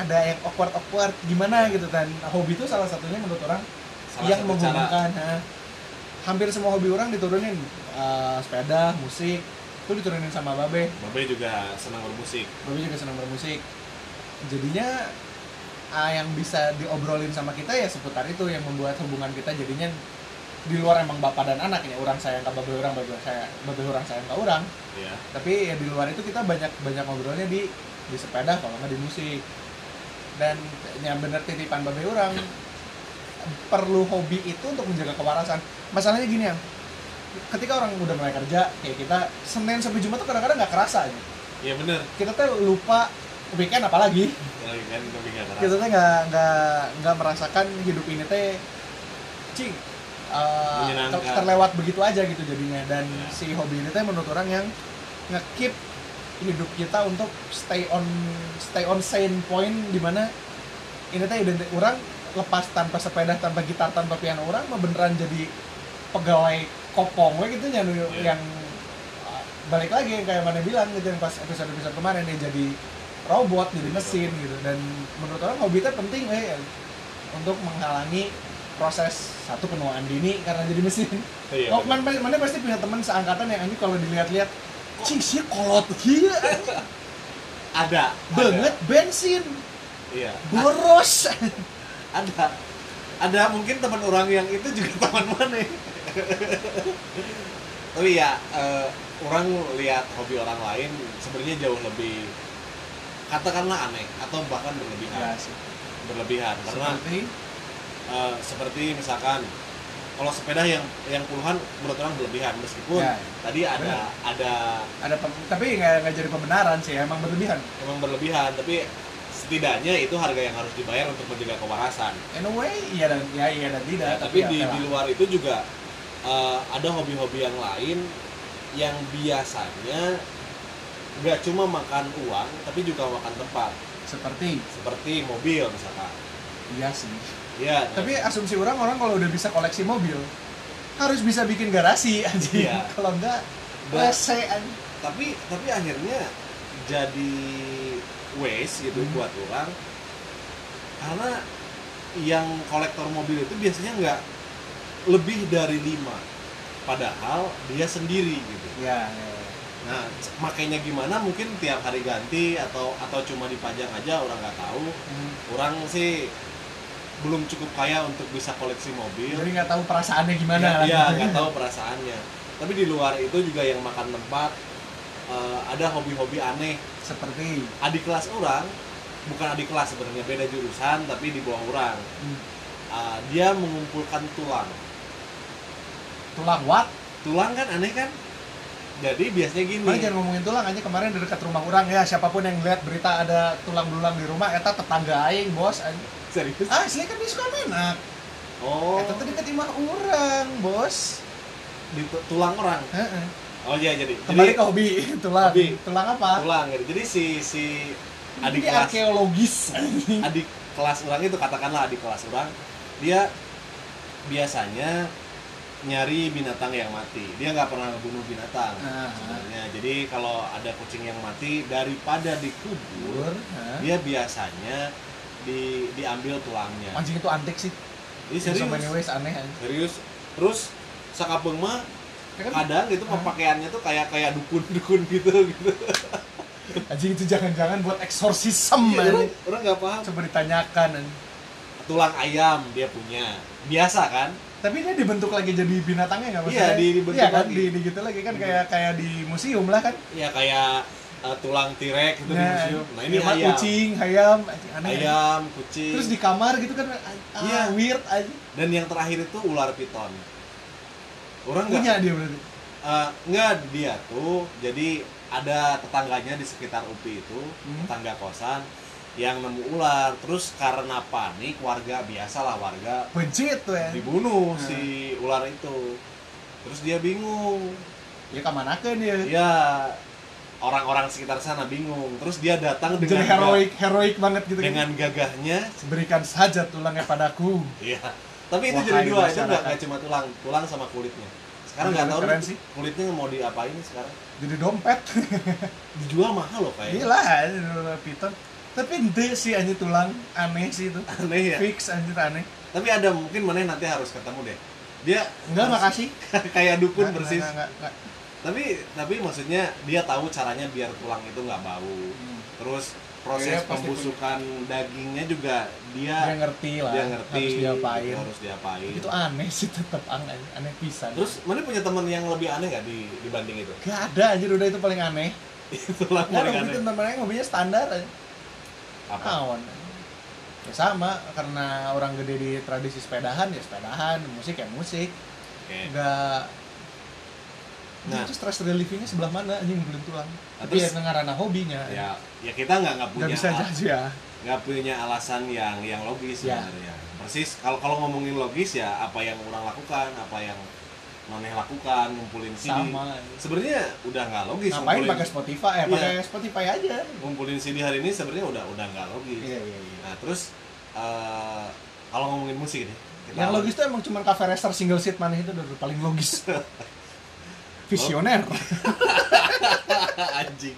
[SPEAKER 1] ada yang awkward awkward gimana gitu kan hobi itu salah satunya menurut orang
[SPEAKER 2] Iya. salah
[SPEAKER 1] yang
[SPEAKER 2] satu cara
[SPEAKER 1] menghubungkan ha. hampir semua hobi orang diturunin Eh, sepeda musik itu diturunin sama babe
[SPEAKER 2] Babe juga senang bermusik
[SPEAKER 1] babe juga senang bermusik jadinya ah, yang bisa diobrolin sama kita ya seputar itu yang membuat hubungan kita jadinya di luar emang bapak dan anak ya orang sayang ke babe orang babe saya babe orang sayang ke orang
[SPEAKER 2] ya
[SPEAKER 1] tapi ya di luar itu kita banyak banyak ngobrolnya di di sepeda kalau nggak di musik dan yang bener titipan babe orang perlu hobi itu untuk menjaga kewarasan masalahnya gini ya ketika orang udah mulai kerja kayak kita senin sampai jumat tuh kadang-kadang nggak kerasa gitu. aja
[SPEAKER 2] iya bener
[SPEAKER 1] kita tuh lupa weekend apalagi
[SPEAKER 2] Kalau kan tapi nggak keras
[SPEAKER 1] kita tuh nggak nggak nggak merasakan hidup ini teh cing eh,
[SPEAKER 2] Menyenangkan.
[SPEAKER 1] ter- terlewat begitu aja gitu jadinya dan
[SPEAKER 2] Ya.
[SPEAKER 1] si hobi ini teh menurut orang yang ngekeep hidup kita untuk stay on stay on sane point dimana ini teh identik orang lepas tanpa sepeda tanpa gitar tanpa piano orang mah beneran jadi pegawai kopong we gitu nyanu
[SPEAKER 2] Iya.
[SPEAKER 1] yang uh, balik lagi yang kayak mana bilang gitu yang pas episode episode kemarin dia jadi robot jadi
[SPEAKER 2] Jadi
[SPEAKER 1] mesin gitu dan menurut orang hobi itu penting eh untuk menghalangi proses satu penuaan dini karena jadi mesin.
[SPEAKER 2] iya
[SPEAKER 1] oh,
[SPEAKER 2] bener.
[SPEAKER 1] man, man- mana pasti punya teman seangkatan yang anjing kalau dilihat-lihat
[SPEAKER 2] kok
[SPEAKER 1] Cisnya kolot gila anjing.
[SPEAKER 2] ada
[SPEAKER 1] banget bensin
[SPEAKER 2] ada. iya
[SPEAKER 1] boros
[SPEAKER 2] ada ada mungkin teman orang yang itu juga <laughs> teman mana ya? tapi ya eh, orang lihat hobi orang lain sebenarnya jauh lebih katakanlah aneh atau bahkan berlebihan
[SPEAKER 1] ya sih
[SPEAKER 2] berlebihan karena
[SPEAKER 1] seperti
[SPEAKER 2] eh, seperti misalkan kalau sepeda yang yang puluhan menurut orang berlebihan meskipun
[SPEAKER 1] Ya.
[SPEAKER 2] tadi ada ada
[SPEAKER 1] ada pem- tapi nggak nggak jadi pembenaran sih emang berlebihan
[SPEAKER 2] memang berlebihan tapi setidaknya itu harga yang harus dibayar untuk menjaga kewarasan
[SPEAKER 1] in a way iya dan ya iya dan tidak
[SPEAKER 2] Ya, tapi
[SPEAKER 1] ya,
[SPEAKER 2] di,
[SPEAKER 1] oke
[SPEAKER 2] di
[SPEAKER 1] lah.
[SPEAKER 2] luar itu juga eh, ada hobi-hobi yang lain yang biasanya nggak cuma makan uang tapi juga makan tempat
[SPEAKER 1] seperti
[SPEAKER 2] seperti mobil misalkan
[SPEAKER 1] iya sih
[SPEAKER 2] ya
[SPEAKER 1] tapi asumsi orang orang kalau udah bisa koleksi mobil harus bisa bikin garasi aja
[SPEAKER 2] Iya.
[SPEAKER 1] kalau enggak
[SPEAKER 2] Ba-
[SPEAKER 1] WC anjing.
[SPEAKER 2] tapi tapi akhirnya jadi waste gitu
[SPEAKER 1] Hmm.
[SPEAKER 2] buat orang karena yang kolektor mobil itu biasanya nggak lebih dari lima padahal dia sendiri gitu
[SPEAKER 1] ya, ya, ya.
[SPEAKER 2] Nah, c- makainya gimana mungkin tiap hari ganti atau atau cuma dipajang aja orang nggak tahu.
[SPEAKER 1] Hmm.
[SPEAKER 2] Orang sih belum cukup kaya untuk bisa koleksi mobil.
[SPEAKER 1] jadi Ya, nggak tahu perasaannya gimana
[SPEAKER 2] Ya,
[SPEAKER 1] lah.
[SPEAKER 2] Iya, nggak tahu perasaannya. Tapi di luar itu juga yang makan tempat eh, ada hobi-hobi aneh.
[SPEAKER 1] seperti
[SPEAKER 2] Adik kelas orang bukan adik kelas sebenarnya beda jurusan tapi di bawah orang.
[SPEAKER 1] hmm,
[SPEAKER 2] Eh, dia mengumpulkan tulang.
[SPEAKER 1] tulang wat
[SPEAKER 2] Tulang kan aneh kan? Jadi biasanya gini.
[SPEAKER 1] Mana jangan ngomongin tulang aja kemarin di dekat rumah orang ya siapapun yang lihat berita ada tulang belulang di rumah eta tetangga aing bos anjing.
[SPEAKER 2] Serius?
[SPEAKER 1] ah eh, asli kan di Sukamenak
[SPEAKER 2] Oh,
[SPEAKER 1] eta tuh dekat imah orang bos
[SPEAKER 2] di tu- tulang orang.
[SPEAKER 1] Heeh.
[SPEAKER 2] Oh iya jadi
[SPEAKER 1] kembali
[SPEAKER 2] jadi
[SPEAKER 1] ke hobi <laughs> tulang
[SPEAKER 2] hobi.
[SPEAKER 1] tulang apa
[SPEAKER 2] ulang gitu. Jadi si si adik
[SPEAKER 1] Ini
[SPEAKER 2] kelas
[SPEAKER 1] arkeologis
[SPEAKER 2] <laughs> adik kelas orang itu katakanlah adik kelas orang dia biasanya nyari binatang yang mati. Dia nggak pernah ngebunuh binatang.
[SPEAKER 1] Ah.
[SPEAKER 2] Sebenarnya. Jadi kalau ada kucing yang mati daripada dikubur,
[SPEAKER 1] Bur, hah?
[SPEAKER 2] dia biasanya di diambil tulangnya.
[SPEAKER 1] anjing itu antik sih
[SPEAKER 2] Ini
[SPEAKER 1] In so many
[SPEAKER 2] Iya, serius.
[SPEAKER 1] ways aneh anjing.
[SPEAKER 2] Serius. Terus sakapeung mah
[SPEAKER 1] Ya kan,
[SPEAKER 2] kadang gitu
[SPEAKER 1] Hah?
[SPEAKER 2] pemakaiannya tuh kayak kayak dukun-dukun gitu gitu.
[SPEAKER 1] anjing itu jangan-jangan buat eksorsisme
[SPEAKER 2] Orang
[SPEAKER 1] anjing.
[SPEAKER 2] orang nggak paham
[SPEAKER 1] coba ditanyakan anjing.
[SPEAKER 2] tulang ayam dia punya biasa kan
[SPEAKER 1] tapi dia dibentuk lagi jadi binatangnya nggak
[SPEAKER 2] Iya,
[SPEAKER 1] maksudnya
[SPEAKER 2] di- dibentuk
[SPEAKER 1] Iya kan
[SPEAKER 2] lagi.
[SPEAKER 1] di, di gitu lagi kan kayak kayak di museum lah kan
[SPEAKER 2] ya kayak eh, tulang tirek gitu di
[SPEAKER 1] Nah,
[SPEAKER 2] museum nah ini
[SPEAKER 1] Iya,
[SPEAKER 2] ayam
[SPEAKER 1] kucing, hayam, anjing, aneh.
[SPEAKER 2] ayam kucing
[SPEAKER 1] Terus di kamar gitu kan ah,
[SPEAKER 2] Iya.
[SPEAKER 1] weird aja.
[SPEAKER 2] dan yang terakhir itu ular piton orang nggak
[SPEAKER 1] Punya dia berarti.
[SPEAKER 2] eh, nggak dia tuh jadi ada tetangganya di sekitar UPI itu
[SPEAKER 1] Hmm.
[SPEAKER 2] tetangga kosan yang nemu ular terus karena panik warga biasalah warga
[SPEAKER 1] Benci tuh ya.
[SPEAKER 2] dibunuh
[SPEAKER 1] Hmm.
[SPEAKER 2] si ular itu terus dia bingung
[SPEAKER 1] Ya kamanakeun dia.
[SPEAKER 2] ya orang-orang sekitar sana bingung terus dia datang
[SPEAKER 1] Jadi
[SPEAKER 2] dengan ga-
[SPEAKER 1] heroik, heroik banget gitu kan.
[SPEAKER 2] dengan gagahnya
[SPEAKER 1] Berikan saja tulangnya padaku.
[SPEAKER 2] iya tapi itu
[SPEAKER 1] Wahai
[SPEAKER 2] jadi dua itu nggak
[SPEAKER 1] masyarakat.
[SPEAKER 2] nggak cuma tulang tulang sama kulitnya sekarang
[SPEAKER 1] Keren,
[SPEAKER 2] nggak tahu
[SPEAKER 1] keren
[SPEAKER 2] nih,
[SPEAKER 1] sih.
[SPEAKER 2] kulitnya mau diapain sekarang
[SPEAKER 1] Jadi
[SPEAKER 2] <laughs>
[SPEAKER 1] dompet.
[SPEAKER 2] dijual mahal loh <laughs> kayaknya
[SPEAKER 1] Gila anjing, ular piton. Tapi ente sih anjing tulang aneh sih itu.
[SPEAKER 2] aneh ya
[SPEAKER 1] Fix anjing aneh.
[SPEAKER 2] tapi ada mungkin mana nanti harus ketemu deh dia
[SPEAKER 1] Enggak makasih.
[SPEAKER 2] <laughs> kayak dukun
[SPEAKER 1] Nggak,
[SPEAKER 2] persis
[SPEAKER 1] nggak, nggak, nggak.
[SPEAKER 2] tapi tapi maksudnya dia tahu caranya biar tulang itu nggak bau
[SPEAKER 1] Hmm.
[SPEAKER 2] terus proses
[SPEAKER 1] Iya, pasti
[SPEAKER 2] pembusukan dagingnya juga
[SPEAKER 1] Dia
[SPEAKER 2] dia
[SPEAKER 1] ngerti lah.
[SPEAKER 2] dia ngerti
[SPEAKER 1] Harus diapain.
[SPEAKER 2] harus diapain
[SPEAKER 1] Itu aneh sih tetap aneh, aneh pisan.
[SPEAKER 2] Terus mana punya teman yang lebih aneh gak di, dibanding itu? <laughs>
[SPEAKER 1] Gak ada anjir udah itu paling aneh.
[SPEAKER 2] Itulah
[SPEAKER 1] Gak ada
[SPEAKER 2] paling
[SPEAKER 1] gitu
[SPEAKER 2] aneh.
[SPEAKER 1] namanya mobilnya standar aja.
[SPEAKER 2] Apa?
[SPEAKER 1] Awan. Ya sama karena orang gede di tradisi sepedahan ya sepedahan, musik ya musik.
[SPEAKER 2] Oke.
[SPEAKER 1] Gak
[SPEAKER 2] Nah.
[SPEAKER 1] Nah, itu stress relievingnya sebelah mana anjing belum tulang. Tapi
[SPEAKER 2] terus-
[SPEAKER 1] ya ngarana hobinya.
[SPEAKER 2] Ya, ya kita nggak nggak
[SPEAKER 1] Gak
[SPEAKER 2] punya
[SPEAKER 1] bisa
[SPEAKER 2] al-
[SPEAKER 1] judge ya.
[SPEAKER 2] nggak punya alasan yang yang logis
[SPEAKER 1] Ya.
[SPEAKER 2] sebenarnya. Persis kalau kalau ngomongin logis ya apa yang orang lakukan, apa yang maneh lakukan, ngumpulin CD.
[SPEAKER 1] Sama.
[SPEAKER 2] Sebenarnya udah nggak logis
[SPEAKER 1] Ngapain
[SPEAKER 2] ngumpulin,
[SPEAKER 1] pakai Spotify? Eh,
[SPEAKER 2] Iya.
[SPEAKER 1] pakai Spotify aja.
[SPEAKER 2] ngumpulin CD hari ini sebenarnya udah udah nggak logis.
[SPEAKER 1] Iya, iya, iya.
[SPEAKER 2] Nah, terus eh, kalau ngomongin musik nih, kita-
[SPEAKER 1] Yang logis tuh emang cuman cafe racer single seat mana itu udah paling
[SPEAKER 2] <laughs>
[SPEAKER 1] logis. Visioner.
[SPEAKER 2] Oh. <laughs> anjing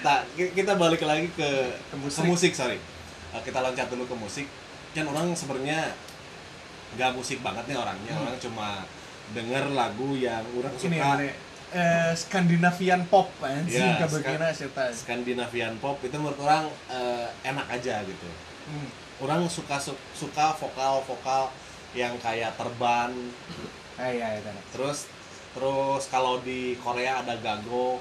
[SPEAKER 2] tak ki- kita balik lagi ke
[SPEAKER 1] Ke
[SPEAKER 2] musik, musik
[SPEAKER 1] musik.
[SPEAKER 2] sorry Eh, kita loncat dulu ke musik kan orang sebenarnya nggak musik banget nih orangnya
[SPEAKER 1] Hmm.
[SPEAKER 2] orang cuma denger lagu yang orang
[SPEAKER 1] Ini
[SPEAKER 2] suka
[SPEAKER 1] ini. eh, Scandinavian pop anjing
[SPEAKER 2] Ya,
[SPEAKER 1] kabagina cerita
[SPEAKER 2] Scandinavian pop itu menurut orang eh, enak aja gitu
[SPEAKER 1] hmm.
[SPEAKER 2] orang suka su- suka vokal vokal yang kayak terban
[SPEAKER 1] ah iya itu enak.
[SPEAKER 2] terus terus kalau di Korea ada gago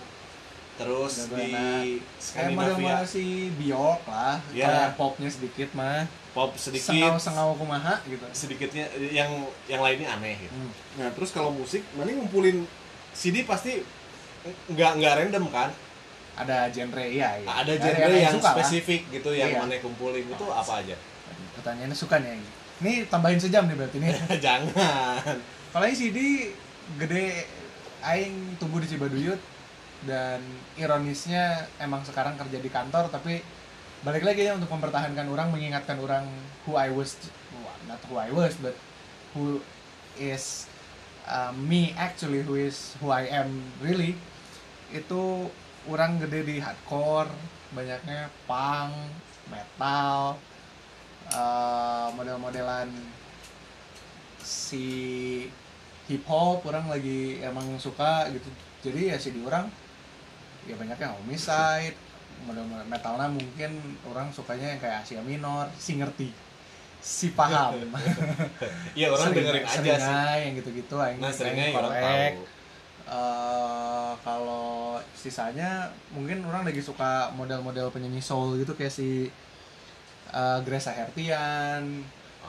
[SPEAKER 2] terus
[SPEAKER 1] Gago
[SPEAKER 2] di
[SPEAKER 1] enak. kayak
[SPEAKER 2] Skandinavia
[SPEAKER 1] model-model si Bjork lah
[SPEAKER 2] Ya.
[SPEAKER 1] kalau popnya sedikit mah
[SPEAKER 2] pop sedikit
[SPEAKER 1] sengau-sengau kumaha gitu
[SPEAKER 2] sedikitnya yang yang lainnya aneh gitu.
[SPEAKER 1] Hmm.
[SPEAKER 2] Nah terus kalau musik, mana ngumpulin CD pasti nggak nggak random kan?
[SPEAKER 1] ada genre iya, iya.
[SPEAKER 2] Ada
[SPEAKER 1] Ada
[SPEAKER 2] genre yang,
[SPEAKER 1] suka lah.
[SPEAKER 2] spesifik gitu yang
[SPEAKER 1] Iya.
[SPEAKER 2] mana kumpulin itu apa aja? <laughs>
[SPEAKER 1] pertanyaannya suka nih Egy. ini tambahin sejam nih berarti nih
[SPEAKER 2] Jangan.
[SPEAKER 1] kalau yang CD gede aing tumbuh di Cibaduyut dan ironisnya emang sekarang kerja di kantor tapi balik lagi ya untuk mempertahankan orang mengingatkan orang who I was well, not who I was but who is uh, me actually who is who I am really itu orang gede di hardcore banyaknya punk metal uh, model-modelan si hip hop orang lagi emang suka gitu jadi ya si di orang ya banyaknya homicide model-model metalnya mungkin orang sukanya yang kayak Asia Minor si ngerti si paham
[SPEAKER 2] Ya <laughs> orang
[SPEAKER 1] Sering-
[SPEAKER 2] dengerin aja
[SPEAKER 1] seringai
[SPEAKER 2] sih.
[SPEAKER 1] yang gitu-gitu aing
[SPEAKER 2] Nah seringnya
[SPEAKER 1] aing
[SPEAKER 2] ya orang
[SPEAKER 1] korek.
[SPEAKER 2] tahu.
[SPEAKER 1] Eh, kalau sisanya mungkin orang lagi suka model-model penyanyi soul gitu kayak si eh, Grace Hertian.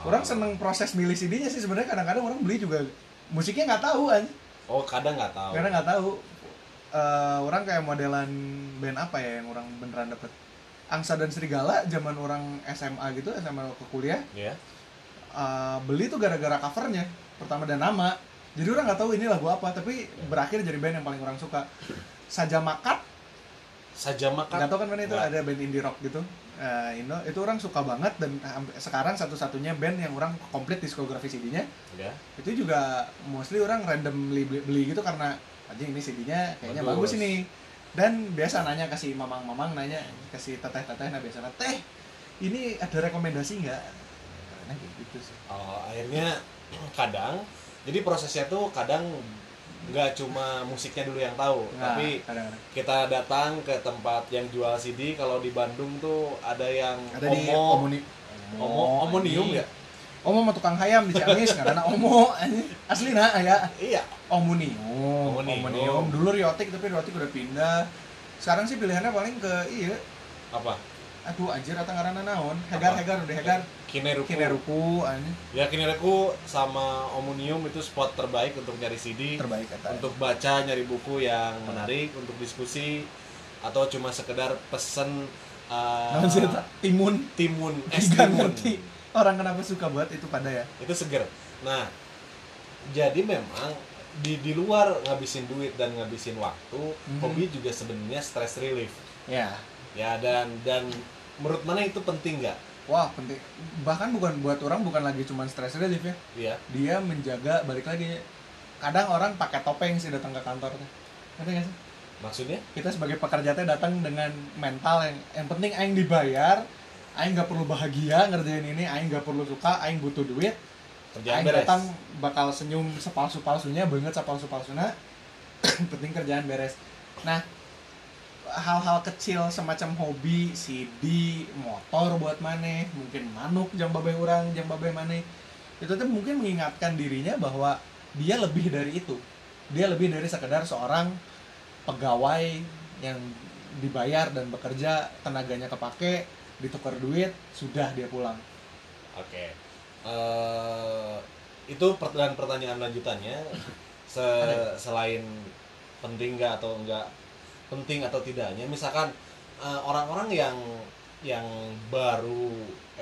[SPEAKER 1] Orang
[SPEAKER 2] Oh.
[SPEAKER 1] seneng proses milih CD-nya sih sebenarnya kadang-kadang orang beli juga musiknya nggak tahu kan.
[SPEAKER 2] Oh kadang nggak tahu.
[SPEAKER 1] Karena nggak tahu Eh, orang kayak modelan band apa ya yang orang beneran dapet Angsa dan Serigala zaman orang SMA gitu, SMA ke kuliah
[SPEAKER 2] Ya.
[SPEAKER 1] Uh, beli tuh gara-gara covernya pertama dan nama jadi orang nggak tahu ini lagu apa tapi berakhir jadi band yang paling orang suka saja makat
[SPEAKER 2] Saja
[SPEAKER 1] nggak
[SPEAKER 2] makan.
[SPEAKER 1] tahu kan mana itu
[SPEAKER 2] Nggak.
[SPEAKER 1] ada band indie rock gitu Uh, Indo itu orang suka banget dan hamp- sekarang satu-satunya band yang orang komplit diskografi CD-nya
[SPEAKER 2] Ya.
[SPEAKER 1] itu juga mostly orang randomly beli, beli gitu karena aja ini CD-nya kayaknya
[SPEAKER 2] Bagus.
[SPEAKER 1] bagus ini dan biasa nanya kasih mamang-mamang nanya kasih teteh-teteh nah biasanya teh ini ada rekomendasi nggak nah kayak gitu sih
[SPEAKER 2] Oh, akhirnya <clears throat> kadang. Jadi prosesnya tuh kadang nggak cuma musiknya dulu yang tahu,
[SPEAKER 1] Nah,
[SPEAKER 2] tapi
[SPEAKER 1] kadang-kadang.
[SPEAKER 2] kita datang ke tempat yang jual CD kalau di Bandung tuh ada yang
[SPEAKER 1] ada di
[SPEAKER 2] Omo
[SPEAKER 1] Omoni
[SPEAKER 2] Omo Omonium ya
[SPEAKER 1] Omo mah tukang hayam di Ciamis karena Omo <laughs> anjing. asli nah ya
[SPEAKER 2] iya
[SPEAKER 1] Omonium
[SPEAKER 2] Omonium.
[SPEAKER 1] dulu Riotik tapi Riotik udah pindah sekarang sih pilihannya paling ke iya
[SPEAKER 2] apa
[SPEAKER 1] aduh anjir atau karena naon hegar
[SPEAKER 2] Apa?
[SPEAKER 1] hegar udah hegar
[SPEAKER 2] Kineruku.
[SPEAKER 1] kineruku anjing
[SPEAKER 2] ya Kineruku sama Omonium itu spot terbaik untuk nyari CD
[SPEAKER 1] terbaik kata
[SPEAKER 2] untuk baca nyari buku yang menarik untuk diskusi atau cuma sekedar pesen uh,
[SPEAKER 1] naon sih eta? timun <laughs>
[SPEAKER 2] timun es
[SPEAKER 1] Gak
[SPEAKER 2] timun
[SPEAKER 1] ngerti. orang kenapa suka buat itu pada ya
[SPEAKER 2] itu seger nah jadi memang di di luar ngabisin duit dan ngabisin waktu
[SPEAKER 1] Mhm.
[SPEAKER 2] hobi juga sebenarnya stress relief
[SPEAKER 1] ya
[SPEAKER 2] Ya dan dan menurut mana itu penting nggak?
[SPEAKER 1] wah penting bahkan bukan buat orang bukan lagi cuman stress relief ya
[SPEAKER 2] Ya.
[SPEAKER 1] dia menjaga balik lagi kadang orang pakai topeng sih datang ke kantor tuh. ngerti nggak sih
[SPEAKER 2] Maksudnya?
[SPEAKER 1] kita sebagai pekerja teh datang dengan mental yang yang penting aing dibayar aing nggak perlu bahagia ngerjain ini aing nggak perlu suka aing butuh duit
[SPEAKER 2] Kerjaan
[SPEAKER 1] aing
[SPEAKER 2] beres.
[SPEAKER 1] datang bakal senyum sepalsu palsunya banget sepalsu palsunya <coughs> penting kerjaan beres nah hal-hal kecil semacam hobi CD motor buat maneh mungkin manuk jam babe orang jam babe maneh itu tuh mungkin mengingatkan dirinya bahwa dia lebih dari itu dia lebih dari sekedar seorang pegawai yang dibayar dan bekerja tenaganya kepake ditukar duit sudah dia pulang
[SPEAKER 2] Oke. Eh, itu pertanyaan-pertanyaan
[SPEAKER 1] <laughs>
[SPEAKER 2] lanjutannya Se- selain penting nggak atau enggak penting atau tidaknya misalkan eh, orang-orang yang yang baru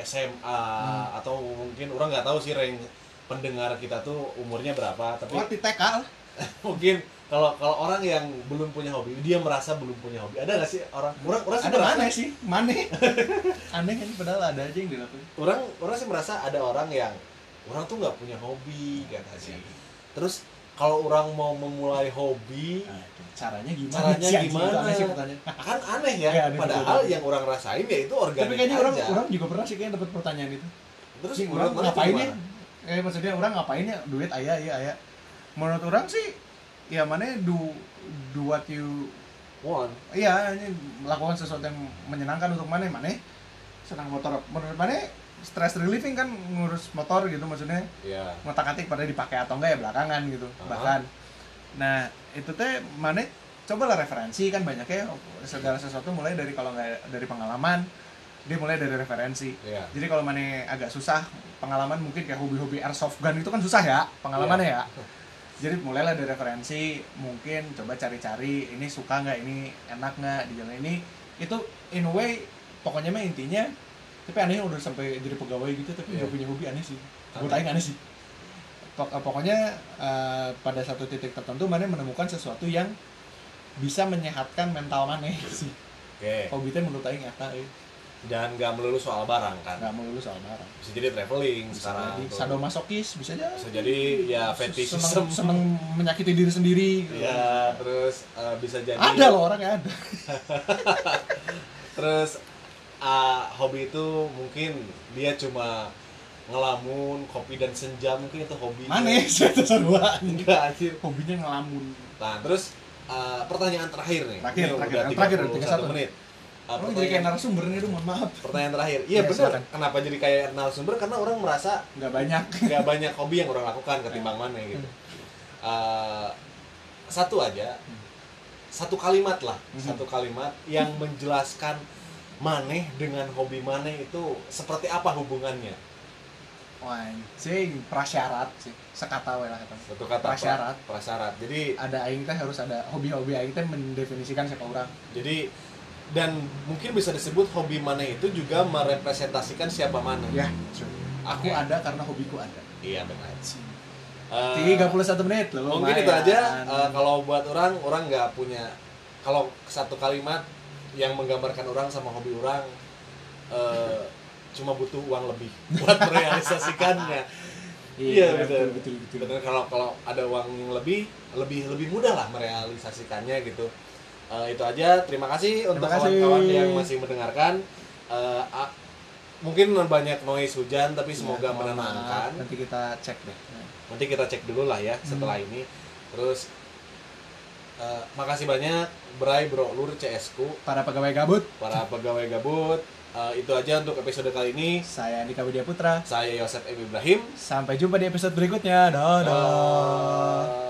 [SPEAKER 2] SMA
[SPEAKER 1] Hmm.
[SPEAKER 2] atau mungkin orang nggak tahu sih range pendengar kita tuh umurnya berapa tapi
[SPEAKER 1] Wah, di TK lah.
[SPEAKER 2] <laughs> mungkin kalau kalau orang yang belum punya hobi dia merasa belum punya hobi ada nggak sih orang orang orang sih
[SPEAKER 1] ada
[SPEAKER 2] merasa-
[SPEAKER 1] mana sih maneh <laughs> aneh kan padahal ada aja yang dilakuin
[SPEAKER 2] orang orang sih merasa ada orang yang orang tuh nggak punya hobi kata sih
[SPEAKER 1] Iya.
[SPEAKER 2] terus kalau orang mau memulai hobi
[SPEAKER 1] Nah, caranya gimana
[SPEAKER 2] Caranya
[SPEAKER 1] sih, anjing? Itu
[SPEAKER 2] gimana?
[SPEAKER 1] aneh sih pertanyaan.
[SPEAKER 2] kan aneh ya,
[SPEAKER 1] Ya, aneh,
[SPEAKER 2] padahal
[SPEAKER 1] betul-betul.
[SPEAKER 2] yang orang rasain ya itu
[SPEAKER 1] <laughs> tapi
[SPEAKER 2] organik
[SPEAKER 1] kayaknya
[SPEAKER 2] aja
[SPEAKER 1] orang orang juga pernah sih kayaknya dapat pertanyaan itu
[SPEAKER 2] terus
[SPEAKER 1] Sih,
[SPEAKER 2] menurut
[SPEAKER 1] orang
[SPEAKER 2] mana itu
[SPEAKER 1] ngapain ya
[SPEAKER 2] gimana?
[SPEAKER 1] eh maksudnya orang ngapain ya duit ayah iya ayah menurut orang sih ya mana do do what you
[SPEAKER 2] One.
[SPEAKER 1] iya ini melakukan sesuatu yang menyenangkan untuk mana mana senang motor menurut mana stress relieving kan ngurus motor gitu maksudnya
[SPEAKER 2] Ya.
[SPEAKER 1] ngotak atik pada dipakai atau enggak ya belakangan gitu
[SPEAKER 2] Aha.
[SPEAKER 1] bahkan nah itu teh mana cobalah referensi kan banyaknya segala sesuatu mulai dari kalau nggak dari pengalaman dia mulai dari referensi
[SPEAKER 2] Ya.
[SPEAKER 1] jadi kalau mana agak susah pengalaman mungkin kayak hobi-hobi airsoft gun itu kan susah ya pengalamannya ya. Jadi mulailah dari referensi mungkin coba cari-cari ini suka nggak ini enak nggak di jalan ini itu in a way pokoknya mah intinya tapi aneh udah sampai jadi pegawai gitu tapi
[SPEAKER 2] Iya.
[SPEAKER 1] nggak punya hobi aneh sih. Gue
[SPEAKER 2] Aneh.
[SPEAKER 1] tanya aneh sih. Pok- Pokoknya eh, pada satu titik tertentu mana menemukan sesuatu yang bisa menyehatkan mental mana <laughs> gitu sih.
[SPEAKER 2] Oke.
[SPEAKER 1] Hobi teh menurut aing eta euy.
[SPEAKER 2] Dan nggak melulu soal barang kan.
[SPEAKER 1] Nggak melulu soal barang.
[SPEAKER 2] Bisa jadi traveling
[SPEAKER 1] bisa
[SPEAKER 2] sekarang.
[SPEAKER 1] jadi
[SPEAKER 2] tuh.
[SPEAKER 1] sadomasokis bisa jadi
[SPEAKER 2] Bisa jadi ya fetishism.
[SPEAKER 1] seneng, seneng menyakiti diri sendiri gitu.
[SPEAKER 2] Ya, terus eh, bisa jadi
[SPEAKER 1] ada loh orang yang ada
[SPEAKER 2] Terus ah, hobi itu mungkin dia cuma ngelamun, kopi dan senja mungkin itu hobi.
[SPEAKER 1] mana
[SPEAKER 2] <laughs>
[SPEAKER 1] ya saya tuh sarua
[SPEAKER 2] Enggak anjir.
[SPEAKER 1] hobinya ngelamun
[SPEAKER 2] Nah, terus ah, pertanyaan terakhir nih.
[SPEAKER 1] Terakhir,
[SPEAKER 2] Ini
[SPEAKER 1] terakhir,
[SPEAKER 2] udah
[SPEAKER 1] yang terakhir,
[SPEAKER 2] 31
[SPEAKER 1] 31.
[SPEAKER 2] menit. Ah,
[SPEAKER 1] orang Oh, jadi kayak
[SPEAKER 2] pertanyaan,
[SPEAKER 1] narasumber nih aduh, mohon maaf
[SPEAKER 2] pertanyaan terakhir. Iya,
[SPEAKER 1] Iya,
[SPEAKER 2] benar.
[SPEAKER 1] silakan.
[SPEAKER 2] Kenapa jadi kayak narasumber? Karena orang merasa
[SPEAKER 1] nggak banyak Hmm.
[SPEAKER 2] nggak banyak hobi yang orang lakukan ketimbang mana gitu. Eh, satu aja, satu kalimat lah,
[SPEAKER 1] Mhm.
[SPEAKER 2] satu kalimat yang menjelaskan maneh dengan hobi maneh itu seperti apa hubungannya?
[SPEAKER 1] Wah, anjing prasyarat sih sekata we lah kata
[SPEAKER 2] Satu kata pra-
[SPEAKER 1] Prasyarat.
[SPEAKER 2] prasyarat. Jadi
[SPEAKER 1] ada aing teh harus ada hobi-hobi aing teh mendefinisikan siapa orang
[SPEAKER 2] jadi dan mungkin bisa disebut hobi maneh itu juga merepresentasikan siapa maneh.
[SPEAKER 1] ya true. aku
[SPEAKER 2] Oke.
[SPEAKER 1] ada karena hobiku ada
[SPEAKER 2] Iya benar. Eh,
[SPEAKER 1] 31 menit loh
[SPEAKER 2] mungkin
[SPEAKER 1] lumayan.
[SPEAKER 2] itu aja eh, kalau buat orang orang nggak punya kalau satu kalimat yang menggambarkan orang sama hobi orang eh, cuma butuh uang lebih <laughs> buat merealisasikannya iya,
[SPEAKER 1] iya betul
[SPEAKER 2] betul.
[SPEAKER 1] betul betul
[SPEAKER 2] benar kalau kalau ada uang yang lebih lebih lebih mudah lah merealisasikannya gitu Eh, itu aja terima kasih untuk
[SPEAKER 1] kasih.
[SPEAKER 2] kawan-kawan yang masih mendengarkan Eh, a- mungkin banyak noise hujan tapi semoga
[SPEAKER 1] Ya, mohon maaf.
[SPEAKER 2] menenangkan
[SPEAKER 1] nanti kita cek deh
[SPEAKER 2] nanti kita cek dulu lah ya setelah ini terus eh, makasih banyak Bray Bro Lur CS ku
[SPEAKER 1] para pegawai gabut
[SPEAKER 2] para pegawai gabut Eh, itu aja untuk episode kali ini
[SPEAKER 1] Saya Andika Widya Putra.
[SPEAKER 2] saya Yosef M. Ibrahim
[SPEAKER 1] Sampai jumpa di episode berikutnya. Dadah.
[SPEAKER 2] Dadah.